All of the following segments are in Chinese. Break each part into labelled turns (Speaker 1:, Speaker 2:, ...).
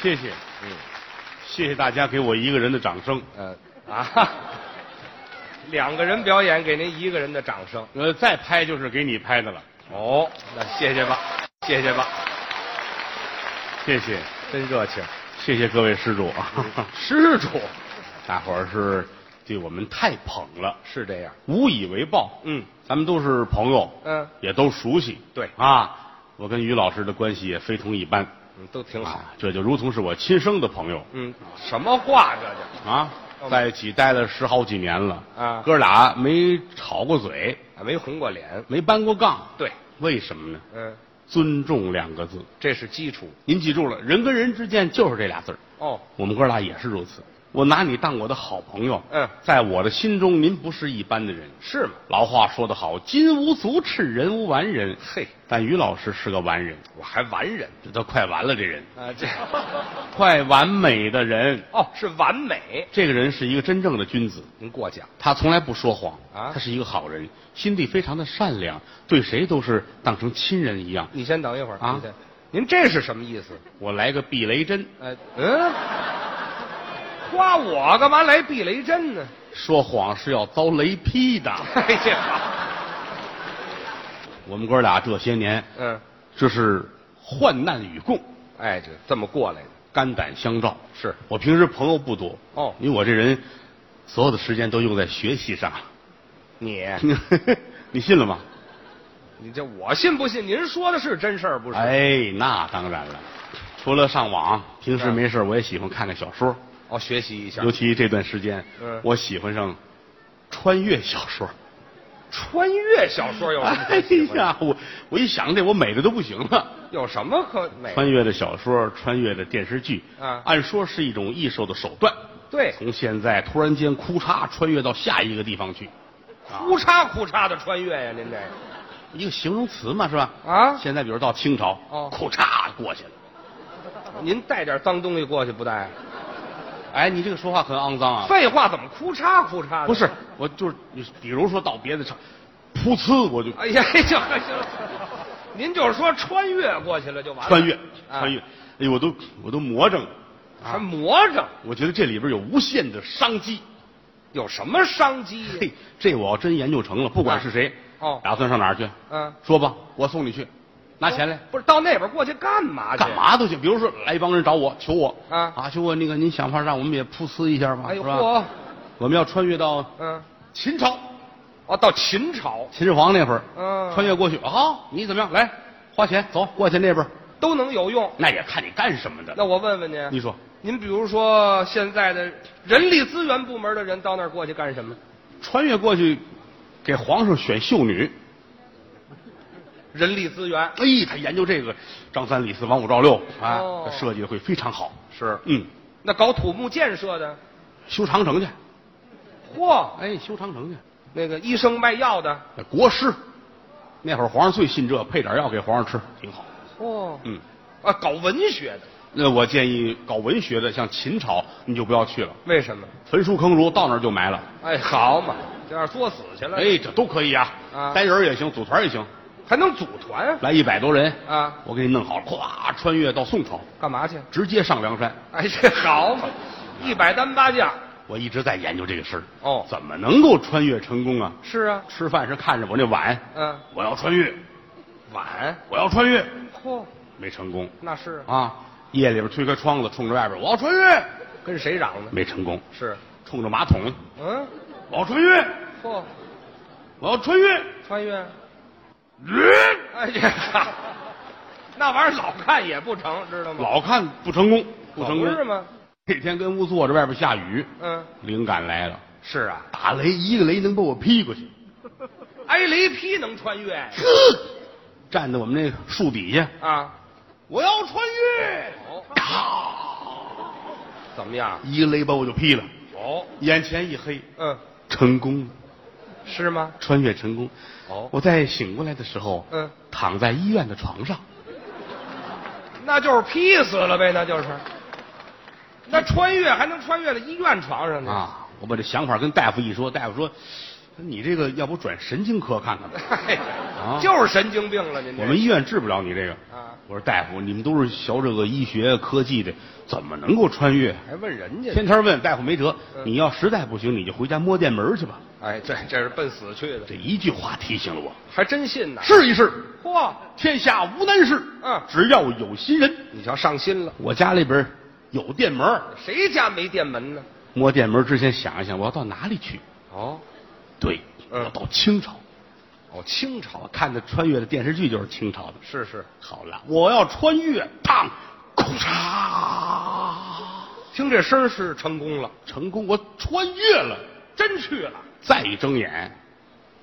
Speaker 1: 谢谢，嗯，谢谢大家给我一个人的掌声。
Speaker 2: 呃啊，两个人表演给您一个人的掌声。
Speaker 1: 呃，再拍就是给你拍的了，
Speaker 2: 哦，那谢谢吧，谢谢吧，
Speaker 1: 谢谢，
Speaker 2: 真热情。
Speaker 1: 谢谢各位施主
Speaker 2: 嗯
Speaker 1: 啊，
Speaker 2: 施主
Speaker 1: 大伙儿是对我们太捧了，
Speaker 2: 是这样，
Speaker 1: 无以为报。
Speaker 2: 嗯，
Speaker 1: 咱们都是朋友，
Speaker 2: 嗯，
Speaker 1: 也都熟悉。
Speaker 2: 对
Speaker 1: 啊，我跟于老师的关系也非同一般
Speaker 2: 嗯，都挺好。
Speaker 1: 啊，这就如同是我亲生的朋友
Speaker 2: 嗯，什么话这就
Speaker 1: 啊，在一起待了十好几年了
Speaker 2: 嗯啊
Speaker 1: 哥俩没吵过嘴，
Speaker 2: 啊没红过脸。
Speaker 1: 没搬过杠，
Speaker 2: 对，
Speaker 1: 为什么呢？
Speaker 2: 嗯，
Speaker 1: 尊重两个字，
Speaker 2: 这是基础。
Speaker 1: 您记住了，人跟人之间就是这俩字儿。
Speaker 2: 哦，
Speaker 1: 我们哥俩也是如此，我拿你当我的好朋友，
Speaker 2: 嗯
Speaker 1: 在我的心中您不是一般的人。
Speaker 2: 是吗？
Speaker 1: 老话说得好，金无足赤，人无完人。
Speaker 2: 嘿，
Speaker 1: 但于老师是个完人，
Speaker 2: 我还完人
Speaker 1: 这都快完了，这人
Speaker 2: 啊，这
Speaker 1: 快完美的人，
Speaker 2: 哦是完美。
Speaker 1: 这个人是一个真正的君子，
Speaker 2: 您过奖。
Speaker 1: 他从来不说谎
Speaker 2: 啊
Speaker 1: 他是一个好人，心地非常的善良，对谁都是当成亲人一样。
Speaker 2: 你先等一会儿
Speaker 1: 啊
Speaker 2: 您先您这是什么意思？
Speaker 1: 我来个避雷针，
Speaker 2: 呃，嗯，夸我干嘛来避雷针呢？
Speaker 1: 说谎是要遭雷劈的。
Speaker 2: 哎呀，
Speaker 1: 我们哥俩这些年，
Speaker 2: 嗯，
Speaker 1: 这是患难与共，
Speaker 2: 哎，这这么过来的，
Speaker 1: 肝胆相照。
Speaker 2: 是
Speaker 1: 我平时朋友不多
Speaker 2: 哦
Speaker 1: 因为我这人所有的时间都用在学习上。
Speaker 2: 你，
Speaker 1: 你信了吗？
Speaker 2: 你这我信不信？您说的是真事儿不是？
Speaker 1: 哎，那当然了。除了上网，平时
Speaker 2: 嗯
Speaker 1: 没事我也喜欢看看小说，
Speaker 2: 哦，学习一下
Speaker 1: 尤其这段时间，
Speaker 2: 嗯
Speaker 1: 我喜欢上穿越小说。
Speaker 2: 穿越小说有什么可
Speaker 1: 哎
Speaker 2: 喜欢的？
Speaker 1: 呀，我我一想这，我美的都不行了。
Speaker 2: 有什么可美？
Speaker 1: 穿越的小说，穿越的电视剧，
Speaker 2: 啊
Speaker 1: 按说是一种艺术的手段。
Speaker 2: 对，
Speaker 1: 从现在突然间哭嚓穿越到下一个地方去，
Speaker 2: 哭嚓哭嚓的穿越呀，您这
Speaker 1: 一个形容词嘛，是吧？
Speaker 2: 啊
Speaker 1: 现在比如到清朝，
Speaker 2: 哦
Speaker 1: 裤嚓过去了。
Speaker 2: 您带点脏东西过去不带？
Speaker 1: 哎，你这个说话很肮脏啊！
Speaker 2: 废话，怎么哭嚓哭嚓的？
Speaker 1: 不是，我就是你，比如说到别的城，噗呲我就
Speaker 2: 哎呀，行了行了，您就是说穿越过去了就完了。
Speaker 1: 穿越
Speaker 2: 啊
Speaker 1: 穿越，哎呦，我都我都魔怔了。
Speaker 2: 还魔怔，
Speaker 1: 我觉得这里边有无限的商机。
Speaker 2: 有什么商机呀？
Speaker 1: 嘿，这我要真研究成了，不管是谁，
Speaker 2: 哦
Speaker 1: 打算上哪儿去？
Speaker 2: 嗯
Speaker 1: 说吧，我送你去，拿钱来。
Speaker 2: 不是到那边过去干嘛去？
Speaker 1: 干？嘛都行。比如说来一帮人找我求我
Speaker 2: 啊
Speaker 1: 啊，求我那个您想法让我们也噗呲一下吧，
Speaker 2: 哎呦
Speaker 1: 是吧
Speaker 2: 嚯，
Speaker 1: 我们要穿越到
Speaker 2: 嗯，
Speaker 1: 秦朝，
Speaker 2: 哦，到秦朝
Speaker 1: 秦始皇那会儿，
Speaker 2: 嗯
Speaker 1: 穿越过去，好，你怎么样？来，花钱走过去那边儿，
Speaker 2: 都能有用。
Speaker 1: 那也看你干什么的。
Speaker 2: 那我问问您，
Speaker 1: 你说
Speaker 2: 您比如说现在的人力资源部门的人到那儿过去干什么？
Speaker 1: 穿越过去，给皇上选秀女，
Speaker 2: 人力资源
Speaker 1: 哎，他研究这个，张三李四王五赵六啊，
Speaker 2: 哦
Speaker 1: 他设计的会非常好。
Speaker 2: 是
Speaker 1: 嗯，
Speaker 2: 那搞土木建设的，
Speaker 1: 修长城去，
Speaker 2: 嚯，
Speaker 1: 哎，修长城去，
Speaker 2: 那个医生卖药的，
Speaker 1: 那国师，那会儿皇上最信这，配点药给皇上吃，挺好。
Speaker 2: 嚯，
Speaker 1: 嗯。
Speaker 2: 啊，搞文学的，
Speaker 1: 那我建议搞文学的，像秦朝你就不要去了，
Speaker 2: 为什么？
Speaker 1: 焚书坑儒，到那儿就埋了。
Speaker 2: 哎，好嘛，这样作死去了，
Speaker 1: 哎，这都可以啊，
Speaker 2: 啊
Speaker 1: 单人儿也行，组团儿也行，
Speaker 2: 还能组团
Speaker 1: 来一百多人，
Speaker 2: 啊？
Speaker 1: 我给你弄好了，咵穿越到宋朝，
Speaker 2: 干嘛去？
Speaker 1: 直接上梁山。
Speaker 2: 哎， 这好嘛，一百单八将。
Speaker 1: 我一直在研究这个事儿，
Speaker 2: 哦
Speaker 1: 怎么能够穿越成功啊？
Speaker 2: 是啊，
Speaker 1: 吃饭时看着我那碗，
Speaker 2: 嗯，
Speaker 1: 我要穿越，
Speaker 2: 碗，
Speaker 1: 我要穿越，
Speaker 2: 嚯，
Speaker 1: 没成功
Speaker 2: 那是啊，
Speaker 1: 啊！夜里边推开窗子，冲着外边，我要穿越，
Speaker 2: 跟谁嚷呢？
Speaker 1: 没成功，
Speaker 2: 是，
Speaker 1: 冲着马桶，
Speaker 2: 嗯，
Speaker 1: 我要穿越，
Speaker 2: 嚯，
Speaker 1: 我要穿越。
Speaker 2: 穿越，
Speaker 1: 呃
Speaker 2: 哎呀， 那玩意儿老看也不成，知道吗？
Speaker 1: 老看不成功，不成
Speaker 2: 可不是
Speaker 1: 功。
Speaker 2: 吗？
Speaker 1: 那天跟屋坐着，外边下雨，
Speaker 2: 嗯，
Speaker 1: 灵感来了，
Speaker 2: 是啊，
Speaker 1: 打雷一个雷能把我劈过去，
Speaker 2: 挨雷劈能穿越呀
Speaker 1: 站在我们那树底下，
Speaker 2: 啊？
Speaker 1: 我要穿越，
Speaker 2: 哦，
Speaker 1: 咔，
Speaker 2: 怎么样？
Speaker 1: 一个雷把我就劈了，
Speaker 2: 哦，
Speaker 1: 眼前一黑，
Speaker 2: 嗯，
Speaker 1: 成功了，
Speaker 2: 是吗？
Speaker 1: 穿越成功。
Speaker 2: 哦
Speaker 1: 我在醒过来的时候，
Speaker 2: 嗯，
Speaker 1: 躺在医院的床上，
Speaker 2: 那就是劈死了呗，那就是。那穿越还能穿越到医院床上呢？嗯
Speaker 1: 啊啊，我把这想法跟大夫一说，大夫说，你这个要不转神经科看看 吧？
Speaker 2: 哎
Speaker 1: 啊
Speaker 2: 就是神经病了，您这
Speaker 1: 我们医院治不了你这个。
Speaker 2: 啊
Speaker 1: 我说大夫，你们都是学这个医学科技的，怎么能够穿越？
Speaker 2: 还问人家呢？
Speaker 1: 天天问大夫没辙，
Speaker 2: 嗯
Speaker 1: 你要实在不行，你就回家摸电门去吧。
Speaker 2: 哎，对，这是奔死去的，
Speaker 1: 这一句话提醒了我，
Speaker 2: 还真信呐！
Speaker 1: 试一试，
Speaker 2: 嚯，
Speaker 1: 天下无难事。
Speaker 2: 嗯
Speaker 1: 只要有心人，
Speaker 2: 你瞧上心了，
Speaker 1: 我家里边有电门，
Speaker 2: 谁家没电门呢？
Speaker 1: 摸电门之前想一想，我要到哪里去？
Speaker 2: 哦，
Speaker 1: 对，
Speaker 2: 嗯
Speaker 1: 我到清朝。
Speaker 2: 哦，清
Speaker 1: 我
Speaker 2: 朝
Speaker 1: 看的穿越的电视剧就是清朝的。
Speaker 2: 是是，
Speaker 1: 好了，我要穿越，当，空嚓，
Speaker 2: 听这声儿是成功了，
Speaker 1: 成功，我穿越了。
Speaker 2: 真去了。
Speaker 1: 再一睁眼，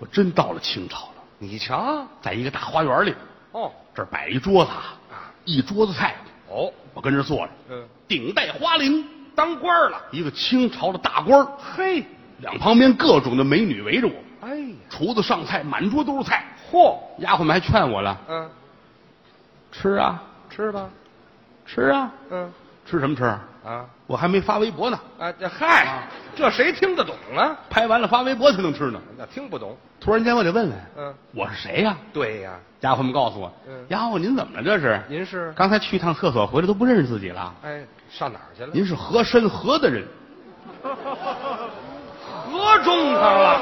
Speaker 1: 我真到了清朝了，
Speaker 2: 你瞧，
Speaker 1: 在一个大花园里，
Speaker 2: 哦
Speaker 1: 这儿摆一桌子啊，
Speaker 2: 啊，
Speaker 1: 一桌子菜，
Speaker 2: 哦，
Speaker 1: 我跟这儿坐着，
Speaker 2: 嗯，
Speaker 1: 顶戴花翎，
Speaker 2: 当官儿了，
Speaker 1: 一个清朝的大官儿，
Speaker 2: 嘿，
Speaker 1: 两旁边各种的美女围着我，
Speaker 2: 哎呀，
Speaker 1: 厨子上菜，满桌都是菜，
Speaker 2: 嚯，
Speaker 1: 丫鬟们还劝我了，
Speaker 2: 嗯，
Speaker 1: 吃啊，
Speaker 2: 吃吧，
Speaker 1: 吃啊，
Speaker 2: 嗯，
Speaker 1: 吃什么吃啊？
Speaker 2: 啊
Speaker 1: 我还没发微博呢，
Speaker 2: 啊，这嗨，这谁听得懂啊？
Speaker 1: 拍完了发微博才能吃呢。
Speaker 2: 那听不懂，
Speaker 1: 突然间我得问问，
Speaker 2: 嗯，
Speaker 1: 我是谁呀、
Speaker 2: 对呀，
Speaker 1: 丫鬟们告诉我
Speaker 2: 嗯，
Speaker 1: 丫鬟您怎么了这是？
Speaker 2: 您是
Speaker 1: 刚才去一趟厕所回来都不认识自己了。
Speaker 2: 哎上哪儿去了？
Speaker 1: 您是和珅和的人，
Speaker 2: 合中堂了。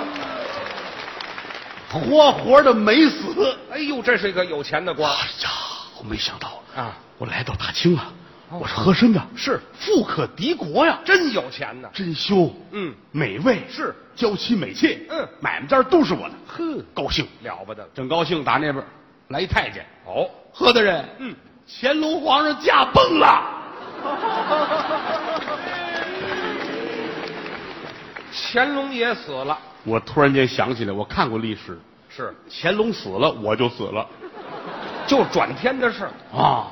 Speaker 1: 活活的没死。
Speaker 2: 哎呦，这是一个有钱的官
Speaker 1: 哎呀，我没想到，
Speaker 2: 啊，
Speaker 1: 我来到大清了，
Speaker 2: 哦
Speaker 1: 我是和珅的，
Speaker 2: 是
Speaker 1: 富可敌国呀，
Speaker 2: 真有钱呐。
Speaker 1: 珍馐，
Speaker 2: 嗯，
Speaker 1: 美味
Speaker 2: 是
Speaker 1: 娇妻美妾，
Speaker 2: 嗯
Speaker 1: 买卖单都是我的，
Speaker 2: 呵，
Speaker 1: 高兴，
Speaker 2: 了不得了。
Speaker 1: 正高兴，打那边来一太监，
Speaker 2: 哦，
Speaker 1: 何大人，
Speaker 2: 嗯，
Speaker 1: 乾隆皇上驾崩了，
Speaker 2: 乾隆爷死了，
Speaker 1: 我突然间想起来，我看过历史，
Speaker 2: 是，
Speaker 1: 乾隆死了，我就死了
Speaker 2: 就转天的事儿。
Speaker 1: 啊。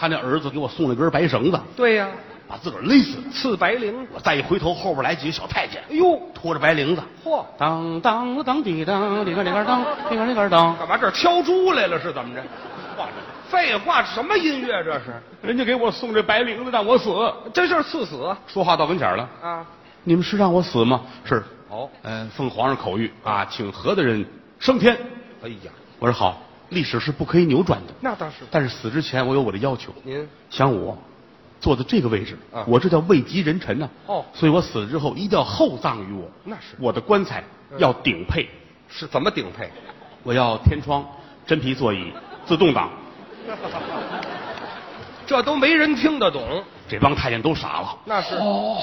Speaker 1: 他那儿子给我送了根白绳子，
Speaker 2: 对呀、
Speaker 1: 把自个儿勒死了。
Speaker 2: 刺白绫。
Speaker 1: 我再一回头，后边来几个小太监，
Speaker 2: 哎呦，
Speaker 1: 拖着白绫子，
Speaker 2: 嚯，
Speaker 1: 当当了当滴当，里个里个当，里个里个当。
Speaker 2: 干嘛这儿敲猪来了是怎 么着？话废话，什么音乐这是？
Speaker 1: 人家给我送这白绫子，让我死。
Speaker 2: 这就是赐死
Speaker 1: 说话到跟前了，
Speaker 2: 啊！
Speaker 1: 你们是让我死吗？是。
Speaker 2: 哦，
Speaker 1: 嗯，奉皇上口谕啊，请何大人升天。
Speaker 2: 哎呀，
Speaker 1: 我说好，历史是不可以扭转的，
Speaker 2: 那倒是。
Speaker 1: 但是死之前我有我的要求。
Speaker 2: 您
Speaker 1: 想我坐在这个位置
Speaker 2: 啊，
Speaker 1: 我这叫位极人臣呐。
Speaker 2: 哦
Speaker 1: 所以我死了之后一定要厚葬于我。
Speaker 2: 那是
Speaker 1: 我的棺材
Speaker 2: 嗯
Speaker 1: 要顶配。
Speaker 2: 是怎么顶配？
Speaker 1: 我要天窗、真皮座椅、自动挡。
Speaker 2: 这都没人听得懂。
Speaker 1: 这帮太监都傻了。
Speaker 2: 那是
Speaker 1: 哦，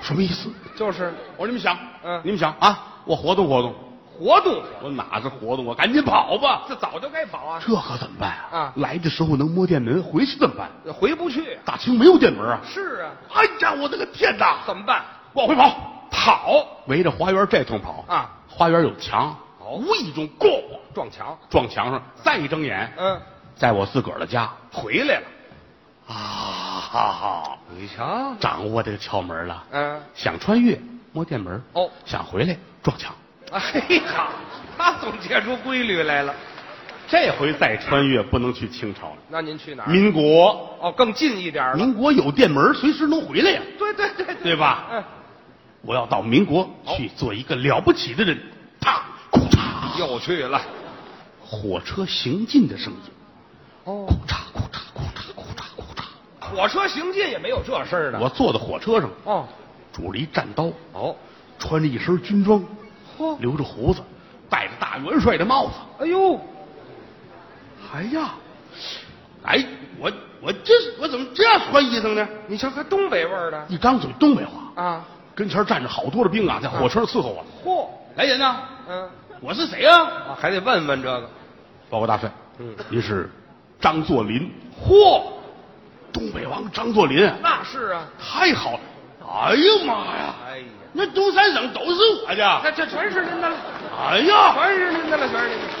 Speaker 1: 什么意思？
Speaker 2: 就是
Speaker 1: 我说你们想，
Speaker 2: 嗯
Speaker 1: 你们想啊，我活动活动。
Speaker 2: 活动，
Speaker 1: 我哪是活动啊？赶紧跑吧！
Speaker 2: 这早就该跑啊，
Speaker 1: 这可怎么办啊？
Speaker 2: 啊
Speaker 1: 来的时候能摸电门，回去怎么办？
Speaker 2: 回不去啊。
Speaker 1: 大清没有电门啊！
Speaker 2: 是啊，
Speaker 1: 哎呀，我的个天哪！
Speaker 2: 怎么办？
Speaker 1: 往回跑，跑，围着花园这通跑
Speaker 2: 啊！
Speaker 1: 花园有墙，
Speaker 2: 哦
Speaker 1: 无意中咣
Speaker 2: 撞墙。
Speaker 1: 撞墙上，再一睁眼，
Speaker 2: 嗯，
Speaker 1: 在我自个儿的家
Speaker 2: 回来了。
Speaker 1: 啊哈哈！
Speaker 2: 你瞧，
Speaker 1: 掌握这个窍门了，
Speaker 2: 嗯，
Speaker 1: 想穿越摸电门，
Speaker 2: 哦
Speaker 1: 想回来撞墙。
Speaker 2: 哎呀，他总结出规律来了。
Speaker 1: 这回再穿越不能去清朝了，
Speaker 2: 那您去哪儿？啊
Speaker 1: 民国，
Speaker 2: 哦，更近一点儿了。
Speaker 1: 嗯民国有电门，随时能回来呀，
Speaker 2: 对对对对，
Speaker 1: 对吧？
Speaker 2: 嗯，
Speaker 1: 我要到民国
Speaker 2: 好
Speaker 1: 去做一个了不起的人，啪，库嚓，
Speaker 2: 又去了。
Speaker 1: 火车行进的声音，
Speaker 2: 哦
Speaker 1: 库嚓库嚓库嚓库嚓库嚓。
Speaker 2: 火车行进也没有这事儿呢。
Speaker 1: 我坐在火车上，
Speaker 2: 哦
Speaker 1: 拄着一战刀，
Speaker 2: 哦，
Speaker 1: 穿着一身军装，
Speaker 2: 嚯，
Speaker 1: 留着胡子，戴着大元帅的帽子。
Speaker 2: 哎呦，
Speaker 1: 哎呀，哎，我我这我怎么这样穿衣裳呢？
Speaker 2: 你瞧还东北味儿的
Speaker 1: 一张嘴东北话，
Speaker 2: 啊？
Speaker 1: 跟前站着好多的兵啊，在火车上伺候我。
Speaker 2: 嚯，
Speaker 1: 来人呐，
Speaker 2: 嗯，
Speaker 1: 我是谁啊？
Speaker 2: 啊还得问问这个。
Speaker 1: 报告大帅，
Speaker 2: 嗯，
Speaker 1: 您是张作霖，
Speaker 2: 嚯，
Speaker 1: 东北王张作霖啊，
Speaker 2: 那是啊。
Speaker 1: 太好了！哎呀妈呀，
Speaker 2: 哎呀，
Speaker 1: 那东三省都是我的。啊
Speaker 2: 那这全是您的了，
Speaker 1: 哎呀，
Speaker 2: 全是您的了，全是您的了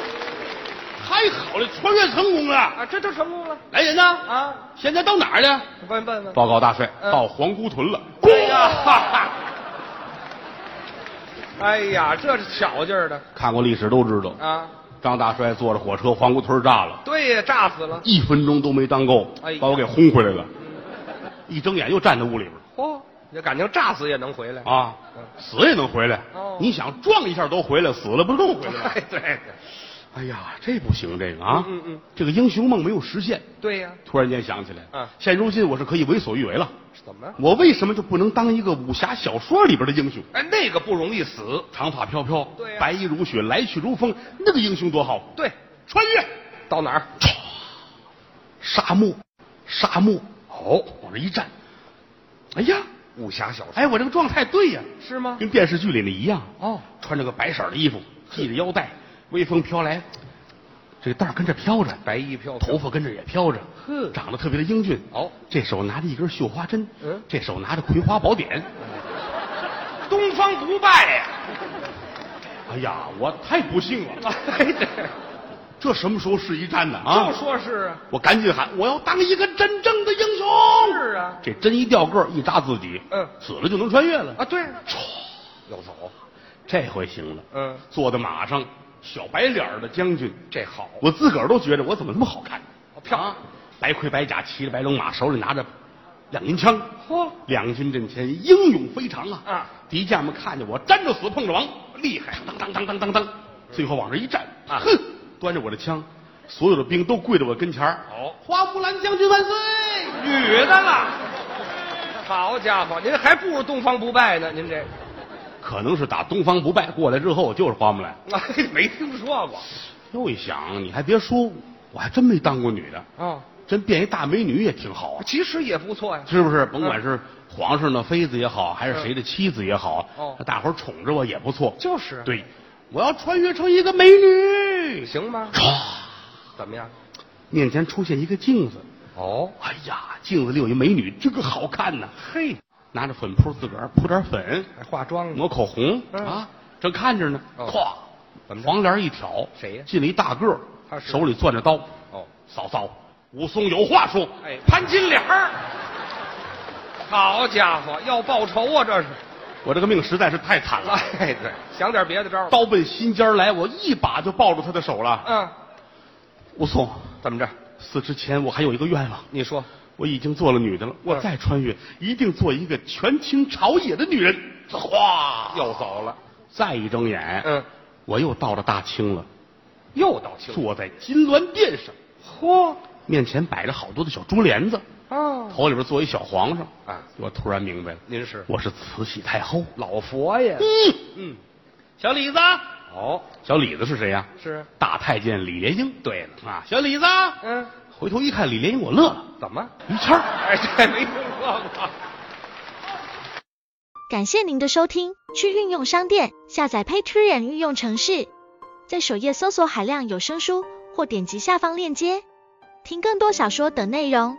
Speaker 1: 太好了，穿越成功了！
Speaker 2: 啊！这就成功了
Speaker 1: 来人呐，
Speaker 2: 啊！
Speaker 1: 现在到哪儿呢？
Speaker 2: 问问问，
Speaker 1: 报告大帅，
Speaker 2: 嗯
Speaker 1: 到皇姑屯了。
Speaker 2: 哎呀
Speaker 1: 哈哈
Speaker 2: 哎呀，这是巧劲儿的
Speaker 1: 看过历史都知道，
Speaker 2: 啊！
Speaker 1: 张大帅坐着火车，皇姑屯炸了，
Speaker 2: 对呀，炸死了。
Speaker 1: 一分钟都没当够
Speaker 2: 哎呀，
Speaker 1: 把我给轰回来了。一睁眼又站在屋里边，
Speaker 2: 嚯，这感情炸死也能回来！
Speaker 1: 啊，死也能回来。
Speaker 2: 哦
Speaker 1: 你想撞一下都回来，死了不是更回来 吗
Speaker 2: 哎，？对对
Speaker 1: 哎呀，这不行，这个啊，
Speaker 2: 嗯嗯嗯
Speaker 1: 这个英雄梦没有实现。
Speaker 2: 对呀，
Speaker 1: 突然间想起来，
Speaker 2: 嗯
Speaker 1: 现如今我是可以为所欲为了。
Speaker 2: 怎么？
Speaker 1: 我为什么就不能当一个武侠小说里边的英雄？
Speaker 2: 哎，那个不容易死。
Speaker 1: 长发飘飘，
Speaker 2: 对呀
Speaker 1: 白衣如雪，来去如风，那个英雄多好！
Speaker 2: 对，
Speaker 1: 穿越
Speaker 2: 到哪儿？
Speaker 1: 沙漠，沙漠，哦，往这一站，哎呀，
Speaker 2: 武侠小说
Speaker 1: 哎，我这个状态对呀，
Speaker 2: 是啊吗？
Speaker 1: 跟电视剧里那一样。
Speaker 2: 哦，
Speaker 1: 穿着个白色的衣服，系着腰带，微风飘来，这个带儿跟着飘着，
Speaker 2: 白衣飘飘
Speaker 1: 头发跟着也飘着，
Speaker 2: 呵
Speaker 1: 长得特别的英俊。
Speaker 2: 哦，
Speaker 1: 这手拿着一根绣花针，
Speaker 2: 嗯
Speaker 1: 这手拿着《葵花宝典》。
Speaker 2: 东方不败呀！
Speaker 1: 哎呀，我太不幸了，
Speaker 2: 哎，对，
Speaker 1: 这什么时候是一战呢？啊，
Speaker 2: 就说是啊，
Speaker 1: 我赶紧喊，我要当一个真正的英雄。
Speaker 2: 是啊，
Speaker 1: 这针一掉个儿，一扎自己，
Speaker 2: 嗯
Speaker 1: 死了就能穿越了。
Speaker 2: 啊，对，要走，
Speaker 1: 这回行了，
Speaker 2: 嗯
Speaker 1: 坐在马上，小白脸儿的将军，
Speaker 2: 这好，
Speaker 1: 我自个儿都觉得我怎么那么好看。
Speaker 2: 哦漂亮，
Speaker 1: 白盔白甲，骑着白龙马，手里拿着两银枪，
Speaker 2: 嚯，
Speaker 1: 两军阵前英勇非常啊！
Speaker 2: 啊
Speaker 1: 敌将们看见我，粘着死碰着亡，厉害！当当当当当当，最后往这一站，
Speaker 2: 啊
Speaker 1: 哼，端着我的枪，所有的兵都跪在我跟前儿。
Speaker 2: 好
Speaker 1: 花木兰将军万岁！
Speaker 2: 女的了。好家伙，您还不如东方不败呢，您这，
Speaker 1: 可能是打东方不败过来之后，就是花木兰。
Speaker 2: 哎， 没听说过。
Speaker 1: 又一想，你还别说，我还真没当过女的，
Speaker 2: 哦，
Speaker 1: 真变一大美女也挺好啊。
Speaker 2: 其实也不错呀。
Speaker 1: 是不是？甭管是皇上的妃子也好，还是谁的妻子也好，
Speaker 2: 哦
Speaker 1: 那大伙儿宠着我也不错。
Speaker 2: 就是，，
Speaker 1: 对，我要穿越成一个美女。
Speaker 2: 行吗？
Speaker 1: 唰，
Speaker 2: 怎么样？
Speaker 1: 面前出现一个镜子，
Speaker 2: 哦，
Speaker 1: 哎呀，镜子里有一美女，这个好看呐、
Speaker 2: 嘿，
Speaker 1: 拿着粉扑自个儿扑点粉，
Speaker 2: 还化妆呢。
Speaker 1: 抹口红、
Speaker 2: 嗯
Speaker 1: 啊，正看着呢，
Speaker 2: 哦
Speaker 1: 咵、
Speaker 2: 怎么着
Speaker 1: 黄帘一挑，
Speaker 2: 谁呀
Speaker 1: 进来一大个儿
Speaker 2: 他，是
Speaker 1: 手里攥着刀，
Speaker 2: 哦，
Speaker 1: 嫂嫂，武松有话说，
Speaker 2: 哎
Speaker 1: 潘金莲儿，
Speaker 2: 好家伙，要报仇啊，这是。
Speaker 1: 我这个命实在是太惨了。
Speaker 2: 哎，对，想点别的招儿。
Speaker 1: 刀奔心尖儿来，我一把就抱住他的手了。
Speaker 2: 嗯，
Speaker 1: 武松，
Speaker 2: 怎么着？
Speaker 1: 死之前我还有一个愿望，
Speaker 2: 你说
Speaker 1: 我已经做了女的了，我
Speaker 2: 嗯
Speaker 1: 再穿越一定做一个权倾朝野的女人。哗，
Speaker 2: 又走了，
Speaker 1: 再一睁眼，
Speaker 2: 嗯，
Speaker 1: 我又到了大清了，
Speaker 2: 又到清
Speaker 1: 坐在金銮殿上，
Speaker 2: 嚯，
Speaker 1: 面前摆着好多的小珠帘子，
Speaker 2: 哦，
Speaker 1: 头里边坐一小皇上。
Speaker 2: 啊，
Speaker 1: 我突然明白了，
Speaker 2: 您是
Speaker 1: 我是慈禧太后。
Speaker 2: 老佛爷
Speaker 1: 嗯，
Speaker 2: 嗯，
Speaker 1: 小李子，
Speaker 2: 哦，
Speaker 1: 小李子是谁呀、
Speaker 2: 是，
Speaker 1: 大太监李莲英。对了啊，小李子，
Speaker 2: 嗯，
Speaker 1: 回头一看，李莲英，我乐了。
Speaker 2: 怎么？
Speaker 1: 于谦儿
Speaker 2: 哎，这没听说过。
Speaker 3: 感谢您的收听，去应用商店下载 Patreon 应用城市，在首页搜索海量有声书，或点击下方链接听更多小说等内容。